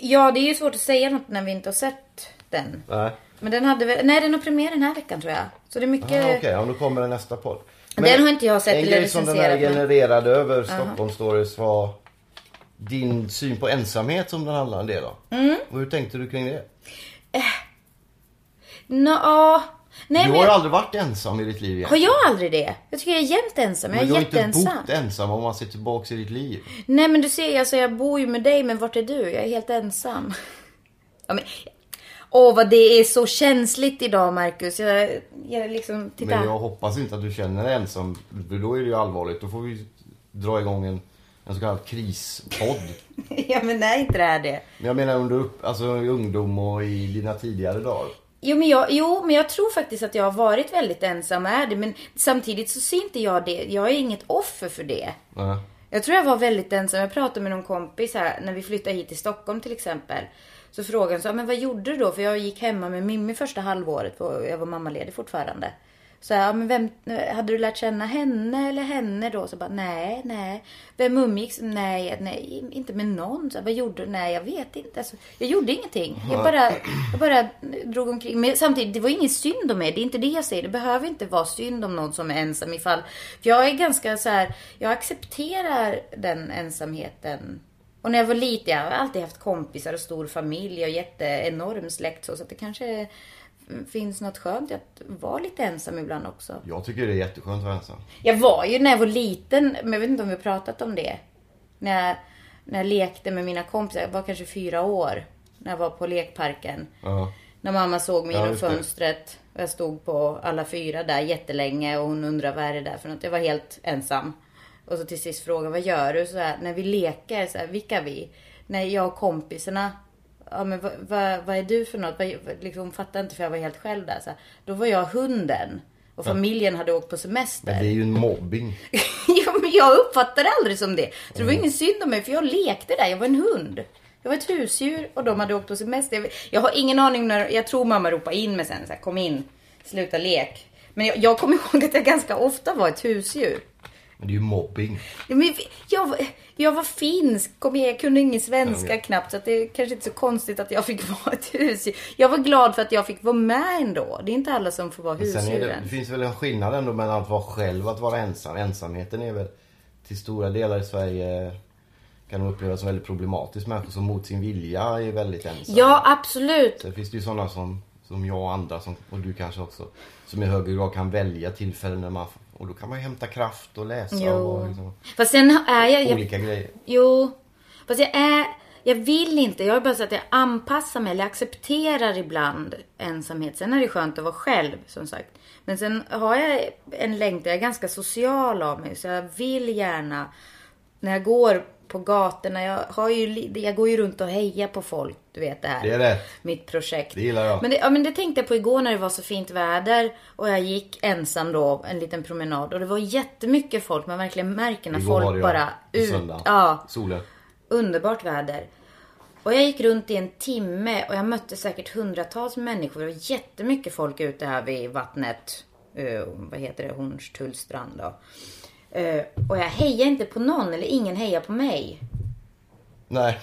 Speaker 1: Ja, det är ju svårt att säga något när vi inte har sett den.
Speaker 2: Nej.
Speaker 1: Men den hade väl, nej den har premiär den här veckan tror jag. Så det är mycket.
Speaker 2: Ah, Okej, ja, då kommer den nästa podd.
Speaker 1: Den har inte jag sett
Speaker 2: En
Speaker 1: eller
Speaker 2: grej som den här
Speaker 1: recenserat, men-
Speaker 2: genererade över Stockholm Stories var din syn på ensamhet som den handlar en del om.
Speaker 1: Mm.
Speaker 2: Och hur tänkte du kring det?
Speaker 1: Nå, ja. nej
Speaker 2: du
Speaker 1: men
Speaker 2: har ju
Speaker 1: jag,
Speaker 2: aldrig varit ensam i ditt liv
Speaker 1: har
Speaker 2: egentligen.
Speaker 1: jag aldrig det? Jag tycker jag är jämt ensam. Jag
Speaker 2: Men du
Speaker 1: är
Speaker 2: har inte
Speaker 1: jätteensam.
Speaker 2: bott ensam om man ser tillbaks i ditt liv.
Speaker 1: Nej men du ser, alltså, jag bor ju med dig men vart är du? Jag är helt ensam. Ja, men... Åh vad det är så känsligt idag Marcus. Jag, jag liksom, titta.
Speaker 2: Men jag hoppas inte att du känner dig ensam. För då är det ju allvarligt. Då får vi dra igång en, en så kallad krispodd.
Speaker 1: ja men nej inte det här det.
Speaker 2: Men jag menar under upp, alltså, i ungdom och i dina tidigare dagar.
Speaker 1: Jo men, jag, jo men jag tror faktiskt att jag har varit väldigt ensam och är det. Men samtidigt så ser inte jag det. Jag är inget offer för det.
Speaker 2: Nej.
Speaker 1: Jag tror jag var väldigt ensam. Jag pratade med någon kompis här när vi flyttade hit till Stockholm till exempel. Så frågade hon så, "Ja, men vad gjorde du då? För jag gick hemma med Mimmi första halvåret. för Jag var mammaledig fortfarande. Så här, ja, men vem, hade du lärt känna henne eller henne då? Så bara, nej, nej. Vem umgicks? Nej, nej, inte med någon. Så här, vad gjorde du? Nej, jag vet inte. Alltså, jag gjorde ingenting. Jag bara, jag bara drog omkring. Men samtidigt, det var ingen synd om mig. Det är inte det jag säger. Det behöver inte vara synd om någon som är ensam ifall. För jag är ganska så här, jag accepterar den ensamheten. Och när jag var liten, jag har alltid haft kompisar och stor familj och jätteenorm släkt så. Så att det kanske finns något skönt i att vara lite ensam ibland också.
Speaker 2: Jag tycker det är jätteskönt att vara ensam.
Speaker 1: Jag var ju när jag var liten, men jag vet inte om vi har pratat om det. När jag, när jag lekte med mina kompisar, jag var kanske fyra år. När jag var på lekparken.
Speaker 2: Ja.
Speaker 1: När mamma såg mig
Speaker 2: Ja,
Speaker 1: genom
Speaker 2: just det.
Speaker 1: fönstret. Och jag stod på alla fyra där jättelänge och hon undrade vad är det där för något. Jag var helt ensam. Och så till sist frågade vad gör du? Så här, när vi leker, så här, vilka är vi? När jag och kompisarna. Ja men vad, vad, vad är du för något? Vad, vad- liksom, hon fattade inte för jag var helt själv där. Så här, då var jag hunden. Och familjen hade åkt på semester.
Speaker 2: Men det är ju en mobbing.
Speaker 1: Ja, men jag uppfattade det aldrig som det. Så det
Speaker 2: Mm.
Speaker 1: var ingen synd om mig för jag lekte där. Jag var en hund. Jag var ett husdjur och de hade åkt på semester. Jag- Jag har ingen aning när, jag tror mamma ropade in mig sen så här, kom in, sluta lek. Men jag, jag kommer ihåg att jag ganska ofta var ett husdjur.
Speaker 2: Men det är ju mobbing.
Speaker 1: Ja, Men jag, var- jag var finsk, kom igen, jag kunde ingen svenska
Speaker 2: Ja, okej.
Speaker 1: knappt. Så att det är kanske inte så konstigt att jag fick vara ett husdjur. Jag var glad för att jag fick vara med ändå. Det är inte alla som får vara
Speaker 2: Sen är det,
Speaker 1: husdjuren.
Speaker 2: det finns väl en skillnad ändå mellan att vara själv och att vara ensam. Ensamheten är väl till stora delar i Sverige kan de upplevas som väldigt problematiskt. Människor som mot sin vilja är väldigt ensamma.
Speaker 1: Ja, absolut.
Speaker 2: Sen finns det ju sådana som, som jag och andra, som, och du kanske också, som i högre grad kan välja tillfällen när man, och då kan man ju hämta kraft och läsa och
Speaker 1: Jo.
Speaker 2: liksom,
Speaker 1: Fast sen är jag... jag
Speaker 2: olika grejer.
Speaker 1: Jo, fast jag är... Jag vill inte. Jag är bara så att jag anpassar mig. Eller jag accepterar ibland ensamhet. Sen är det skönt att vara själv, som sagt. Men sen har jag en längtan. Jag är ganska social av mig. Så jag vill gärna... När jag går på gatorna. Jag, har ju, li- jag går ju runt och hejar på folk. Du vet det här.
Speaker 2: Det är rätt.
Speaker 1: Mitt projekt.
Speaker 2: Det gillar jag.
Speaker 1: Men det, ja, men det tänkte jag på igår när det var så fint väder. Och jag gick ensam då en liten promenad. Och det var jättemycket folk. Man verkligen märker när
Speaker 2: Igår var det
Speaker 1: folk
Speaker 2: jag,
Speaker 1: bara
Speaker 2: på
Speaker 1: ut.
Speaker 2: söndag.
Speaker 1: Ja,
Speaker 2: Solen.
Speaker 1: underbart väder. Och jag gick runt i en timme och jag mötte säkert hundratals människor och jättemycket folk ute här vid vattnet. Eh, vad heter det? Hornstullstrand då. Eh, och jag hejar inte på någon eller ingen hejar på mig.
Speaker 2: Nej,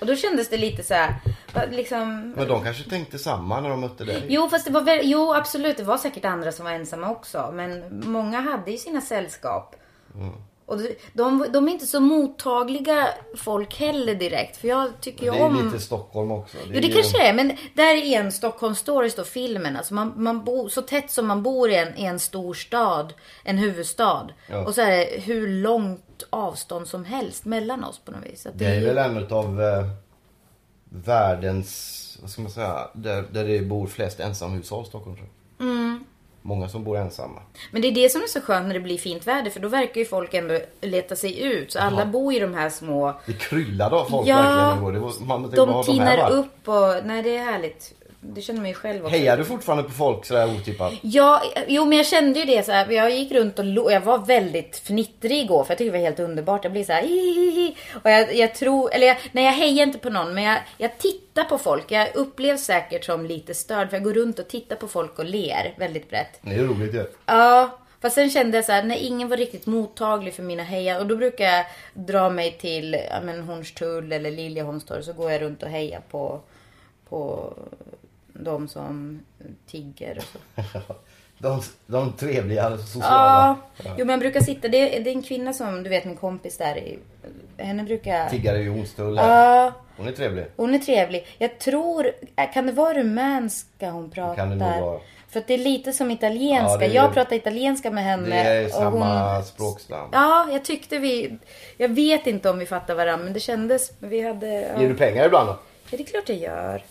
Speaker 1: Och då kändes det lite så här, va- liksom...
Speaker 2: men de kanske tänkte samma när de mötte dig.
Speaker 1: Jo, fast det var väl, jo, absolut. Det var säkert andra som var ensamma också. Men många hade ju sina sällskap.
Speaker 2: Mm.
Speaker 1: Och de, de, de är inte så mottagliga folk heller direkt. För jag tycker
Speaker 2: Det
Speaker 1: ju
Speaker 2: är
Speaker 1: om...
Speaker 2: ju lite Stockholm också.
Speaker 1: Jo, det
Speaker 2: är ju,
Speaker 1: kanske är. Men där är en Stockholm Stories då, filmen. Alltså man, man bor, så tätt som man bor i en, i en stor stad, en huvudstad.
Speaker 2: Ja.
Speaker 1: Och så är det hur långt avstånd som helst mellan oss på något vis. Att
Speaker 2: Det är väl en av eh,
Speaker 1: Mm.
Speaker 2: världens, vad ska man säga, där, där det bor flest ensamhushåll i Stockholm tror jag. många som bor ensamma.
Speaker 1: Men det är det som är så skönt när det blir fint väder för då verkar ju folk ändå leta sig ut. Så alla bor i de här små...
Speaker 2: Det kryllade av folk
Speaker 1: Ja,
Speaker 2: verkligen igår. Det var, man tänkte, vad
Speaker 1: De
Speaker 2: har de här
Speaker 1: tinar
Speaker 2: varit?
Speaker 1: upp och... Nej, det är härligt. Det känner man ju själv också.
Speaker 2: Hejar du fortfarande på folk sådär otippat?
Speaker 1: Ja, jo men jag kände ju det så här. Jag gick runt och lo- jag var väldigt fnittrig igår för jag tyckte det var helt underbart. Jag blir så här hihihi. Och jag, jag tror, eller jag, nej jag hejar inte på någon men jag, jag tittar på folk. Jag upplevs säkert som lite störd för jag går runt och tittar på folk och ler väldigt brett.
Speaker 2: Det är roligt ju.
Speaker 1: Ja, fast sen kände jag så här, när ingen var riktigt mottaglig för mina hejar och då brukar jag dra mig till ja, men Hornstull eller Liljeholmstorg så går jag runt och hejar på, på de som tigger och så.
Speaker 2: De, de trevliga sociala
Speaker 1: Ja, jo men jag brukar sitta, det är, det är en kvinna som, du vet min kompis där, i, henne brukar jag...
Speaker 2: tiggare i Jonstull. här.
Speaker 1: Ja,
Speaker 2: Hon är trevlig.
Speaker 1: hon är trevlig. Jag tror, äh, kan det vara rumänska hon pratar?
Speaker 2: kan det nog vara.
Speaker 1: För att det är lite som
Speaker 2: Ja,
Speaker 1: italienska.
Speaker 2: det är-
Speaker 1: jag pratar italienska med henne.
Speaker 2: Det är
Speaker 1: och
Speaker 2: samma språkstam.
Speaker 1: Ja, jag tyckte vi... Jag vet inte om vi fattar varandra, men det kändes... men Vi hade... Ja,
Speaker 2: Ger du pengar ibland då?
Speaker 1: ja det är klart jag gör.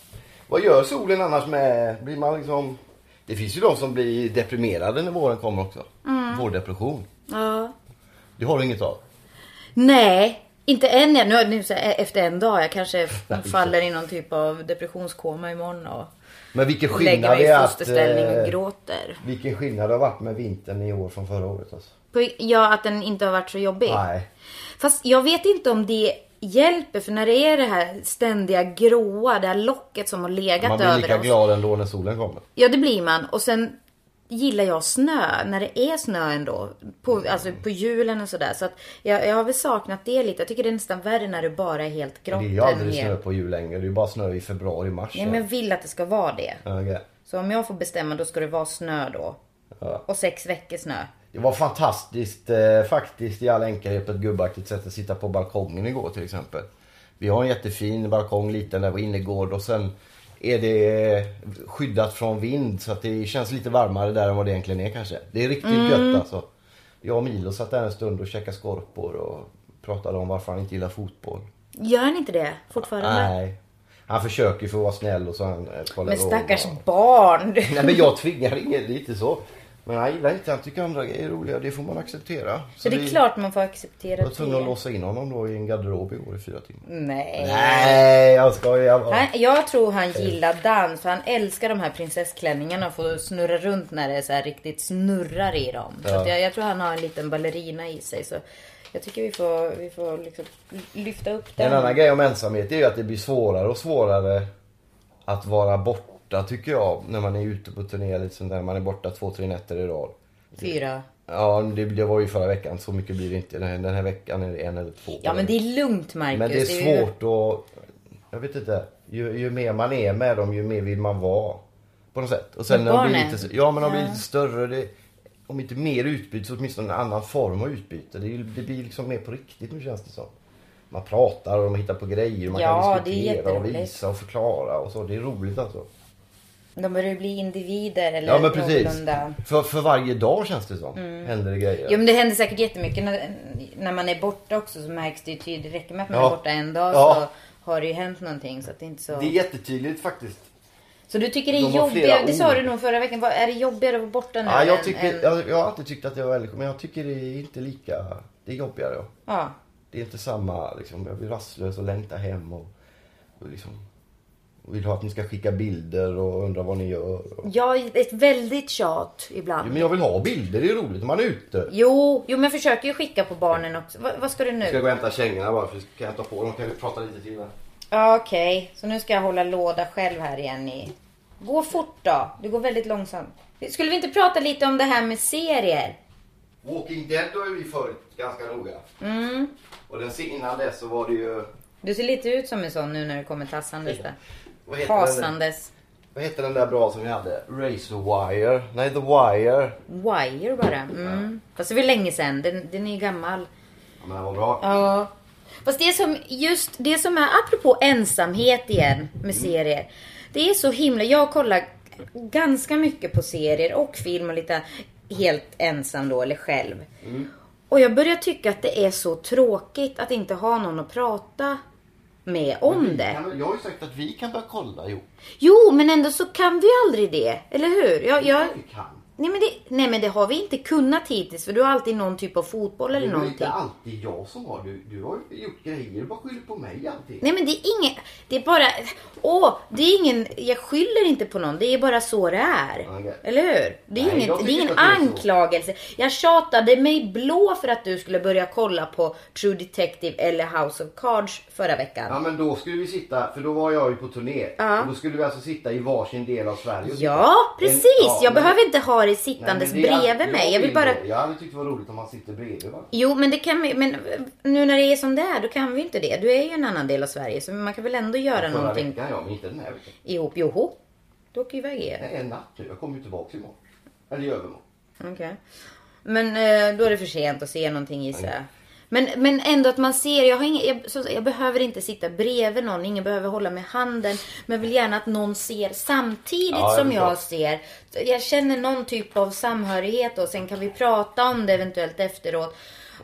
Speaker 2: Vad gör solen annars med... Blir man liksom... Det finns ju de som blir deprimerade när våren kommer också.
Speaker 1: Mm.
Speaker 2: Vårdepression.
Speaker 1: Ja.
Speaker 2: Det har du inget av?
Speaker 1: Nej, inte än. Jag, nu, nu, så, här, efter en dag. Jag kanske
Speaker 2: Nej,
Speaker 1: faller i någon typ av depressionskoma imorgon och
Speaker 2: Men vilken
Speaker 1: lägger
Speaker 2: skillnad
Speaker 1: mig
Speaker 2: det
Speaker 1: i
Speaker 2: är
Speaker 1: fosterställning och
Speaker 2: att... eh,
Speaker 1: gråter.
Speaker 2: Vilken skillnad det har varit med vintern i år från förra året alltså.
Speaker 1: På, ja, att den inte har varit så jobbig.
Speaker 2: Nej.
Speaker 1: Fast jag vet inte om det hjälper för när det är det här ständiga gråa, det här locket som har legat
Speaker 2: Man blir
Speaker 1: över
Speaker 2: lika
Speaker 1: oss.
Speaker 2: glad ändå när solen kommer.
Speaker 1: Ja, det blir man. Och sen gillar jag snö när det är snö ändå. På, alltså på julen och sådär. Så att jag, jag har väl saknat det lite. Jag tycker det är nästan värre när det bara är helt grått.
Speaker 2: Det är ju
Speaker 1: en
Speaker 2: aldrig
Speaker 1: hel-
Speaker 2: snö på jul längre. Det är ju bara snö i februari, mars.
Speaker 1: Nej, men jag vill att det ska vara det.
Speaker 2: Ja, okej.
Speaker 1: Så om jag får bestämma då ska det vara snö då.
Speaker 2: Ja.
Speaker 1: Och sex veckor snö.
Speaker 2: Det var fantastiskt eh, faktiskt i all enkelhet på ett gubbaktigt sätt att sitta på balkongen igår till exempel. Vi har en jättefin balkong, liten där, innergård och sen är det eh, skyddat från vind så att det känns lite varmare där än vad det egentligen är kanske. Det är riktigt
Speaker 1: Mm.
Speaker 2: gött alltså. Jag och Milo satt där en stund och käkade skorpor och pratade om varför han inte gillar fotboll.
Speaker 1: Gör ni inte det fortfarande?
Speaker 2: Nej. Han försöker ju för att vara snäll och så han eh, kollar
Speaker 1: Men
Speaker 2: då-
Speaker 1: stackars barn.
Speaker 2: Nej men jag tvingar ingen, det är inte så. Men han gillar inte, han tycker andra grejer är roliga. Det får man acceptera.
Speaker 1: Så det är klart man får acceptera
Speaker 2: Jag var tvungen att
Speaker 1: det.
Speaker 2: låsa in honom då i en garderob igår i fyra timmar.
Speaker 1: Nej.
Speaker 2: Nej, jag skojar bara.
Speaker 1: Han, jag tror han gillar dans för han älskar de här prinsessklänningarna och får snurra runt när det är så här riktigt snurrar i dem. Så
Speaker 2: Ja.
Speaker 1: att jag, jag tror han har en liten ballerina i sig. Så jag tycker vi får, vi får liksom lyfta upp den.
Speaker 2: En annan grej om ensamhet är ju att det blir svårare och svårare att vara borta tycker jag. När man är ute på turné eller sånt där. Man är borta två, tre nätter i rad.
Speaker 1: Fyra.
Speaker 2: Ja, det, det var ju förra veckan. Så mycket blir det inte. Den här, den här veckan är det en eller två.
Speaker 1: Ja men det är lugnt Marcus.
Speaker 2: Men det är
Speaker 1: ju-
Speaker 2: svårt att... Jag vet inte. Ju, ju mer man är med dem, ju mer vill man vara. På något sätt. Och sen
Speaker 1: Med
Speaker 2: när de blir
Speaker 1: barnen?
Speaker 2: lite, ja, men de blir
Speaker 1: Ja.
Speaker 2: lite större. Det, om inte mer utbyte så åtminstone en annan form av utbyte. Det, är ju- det blir liksom mer på riktigt nu känns det som. Man pratar och de hittar på grejer. Man
Speaker 1: Ja,
Speaker 2: kan
Speaker 1: det är
Speaker 2: diskutera och
Speaker 1: jätteroligt.
Speaker 2: visa och förklara och så. Det är roligt alltså.
Speaker 1: De börjar ju bli individer eller
Speaker 2: Ja men precis.
Speaker 1: någorlunda.
Speaker 2: För, för varje dag känns det som.
Speaker 1: Mm.
Speaker 2: Händer det grejer.
Speaker 1: Jo men det händer säkert jättemycket när, när man är borta också så märks det ju tydligt. Det räcker med att man
Speaker 2: Ja.
Speaker 1: är borta en dag
Speaker 2: Ja.
Speaker 1: så har det ju hänt någonting. Så, att det är inte så...
Speaker 2: Det är jättetydligt faktiskt.
Speaker 1: så du tycker det
Speaker 2: De
Speaker 1: är
Speaker 2: har flera
Speaker 1: jobbigare, det sa
Speaker 2: ord.
Speaker 1: du nog förra veckan, Vad- är det jobbigare att vara borta nu?
Speaker 2: Ja, jag,
Speaker 1: än-
Speaker 2: tycker,
Speaker 1: än-
Speaker 2: jag, jag har alltid tyckt att jag var väldigt... Men jag tycker det är inte lika... Det är jobbigare. Ja.
Speaker 1: Ja.
Speaker 2: Det är inte samma, liksom, jag blir rastlös och längtar hem och, och liksom, och vill ha att ni ska skicka bilder och undra vad ni gör. Och...
Speaker 1: Jag är ett väldigt tjat
Speaker 2: Jo,
Speaker 1: ibland.
Speaker 2: men jag vill ha bilder, det är roligt när man är ute.
Speaker 1: Jo, jo men jag försöker ju skicka på barnen också. Va, vad ska du
Speaker 2: Jag ska
Speaker 1: nu?
Speaker 2: gå och hämta kängorna bara, för kan jag ta på dem? Kan vi prata lite till?
Speaker 1: Ja, Okej, så nu ska jag hålla låda själv här igen i... Gå fort då, du går väldigt långsamt. Skulle vi inte prata lite om det här med serier?
Speaker 2: Walking Dead har vi följt ganska noga. Och den, innan dess så var det ju...
Speaker 1: Du ser lite ut som en sån nu när du kommer tassandes där.
Speaker 2: Vad heter den, där-
Speaker 1: Hasandes.
Speaker 2: vad heter den där bra som vi hade? Razor Wire? Nej, The Wire.
Speaker 1: Wire bara. Mm. Fast det var länge sedan. Den, den är ju gammal.
Speaker 2: Ja, men den var bra.
Speaker 1: Ja. Fast det som, just det som är, apropå ensamhet igen
Speaker 2: Mm.
Speaker 1: med serier. Det är så himla, jag kollar ganska mycket på serier och film och lite helt ensam då, eller själv.
Speaker 2: Mm.
Speaker 1: Och jag börjar tycka att det är så tråkigt att inte ha någon att prata med om det.
Speaker 2: Kan du- Jag har ju sagt att vi kan börja kolla ihop.
Speaker 1: Jo, men ändå så kan vi aldrig det, eller hur? Jag, jag,
Speaker 2: Vi kan.
Speaker 1: Nej men, det, nej men det har vi inte kunnat hittills för du har alltid någon typ av fotboll eller
Speaker 2: Det är ju
Speaker 1: någonting.
Speaker 2: inte alltid jag som har. Du, du har ju gjort grejer. Du bara skyller på mig alltid.
Speaker 1: Nej men det är inget, det är bara, åh, det är ingen, jag skyller inte på någon, det är bara så det är.
Speaker 2: Okej.
Speaker 1: Eller hur? Det är,
Speaker 2: Nej, jag
Speaker 1: inget, det
Speaker 2: tycker
Speaker 1: är ingen
Speaker 2: inte att det är så.
Speaker 1: anklagelse. Jag tjatade mig blå för att du skulle börja kolla på True Detective eller House of Cards förra veckan.
Speaker 2: Ja men då skulle vi sitta, för då var jag ju på turné. Och då skulle vi alltså sitta i varsin del av Sverige. och titta.
Speaker 1: Ja, precis!
Speaker 2: En- ja,
Speaker 1: jag
Speaker 2: men-
Speaker 1: behöver inte ha dig
Speaker 2: Nej, men
Speaker 1: sittandes
Speaker 2: det är-
Speaker 1: bredvid mig. Jag vill bara...
Speaker 2: det. Jag hade tyckt det var roligt om man sitter bredvid va?
Speaker 1: Jo, men det kan vi, men nu när det är som det är, då kan vi ju inte det. Du är ju en annan del av Sverige, så man kan väl ändå göra
Speaker 2: Förra
Speaker 1: någonting
Speaker 2: veckan ja, men inte den här veckan.
Speaker 1: ihop. Joho, du åker iväg igen.
Speaker 2: Nej, en natt nu. Jag kommer ju tillbaka imorgon. Eller i övermorgon.
Speaker 1: Okej. Men eh, då är det för sent att se någonting gissar jag. Men, men ändå att man ser, jag, har ingen, jag, som sagt, jag behöver inte sitta bredvid någon, ingen behöver hålla mig i handen. Men jag vill gärna att någon ser samtidigt
Speaker 2: Ja, jag
Speaker 1: som
Speaker 2: förstår.
Speaker 1: jag ser. Så Jag känner någon typ av samhörighet och sen kan vi prata om det eventuellt efteråt.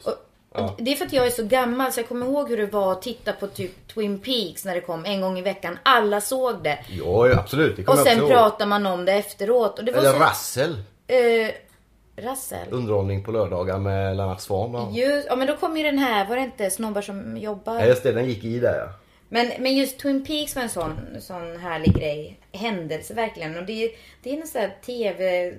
Speaker 1: Och, och Det är för att jag är så gammal så jag kommer ihåg hur det var att titta på typ Twin Peaks när det kom en gång i veckan. Alla såg det.
Speaker 2: Ja, absolut. Det
Speaker 1: Och sen pratar man om det efteråt. Och det var
Speaker 2: Eller
Speaker 1: så,
Speaker 2: Rassel.
Speaker 1: eh, Rassel?
Speaker 2: Underhållning på lördagar med Lennart Swahn bland annat.
Speaker 1: Just, ja men då kom ju den här, var det inte Snobbar som jobbar?
Speaker 2: Ja, just det. Den gick i där ja.
Speaker 1: Men, men just Twin Peaks var en sån, sån härlig grej. Händelse verkligen. Och det, är- det är en sån här TV,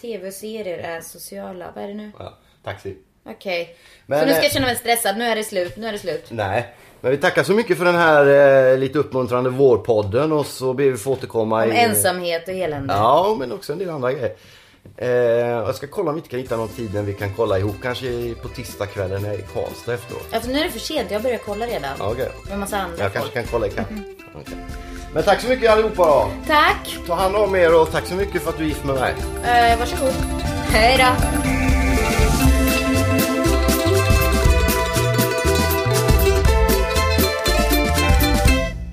Speaker 1: tv-serier är sociala. Vad är det nu?
Speaker 2: ja. Taxi.
Speaker 1: Okej.
Speaker 2: Men,
Speaker 1: Så nu ska
Speaker 2: eh,
Speaker 1: jag känna mig stressad. Nu är det slut. Nu är det slut.
Speaker 2: Nej, men vi tackar så mycket för den här eh, lite uppmuntrande vårpodden och så ber vi få återkomma
Speaker 1: Om
Speaker 2: i...
Speaker 1: ensamhet och elände.
Speaker 2: Ja, men också en del andra grejer. Eh, jag ska kolla om vi inte kan hitta någon tid när vi kan kolla ihop. Kanske i- på tisdagskvällen här i Karlstad efteråt.
Speaker 1: Alltså nu är det för sent. Jag börjar kolla redan.
Speaker 2: Ja, okej.
Speaker 1: Med massa andra
Speaker 2: Jag
Speaker 1: folk.
Speaker 2: kanske kan kolla ikapp. Okej. Men tack så mycket allihopa då.
Speaker 1: Tack!
Speaker 2: Ta hand om er och tack så mycket för att du är gift med mig.
Speaker 1: Eh, varsågod. Hej då!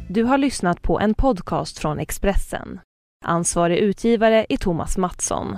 Speaker 3: Du har lyssnat på en podcast från Expressen. Ansvarig utgivare är Thomas Mattsson.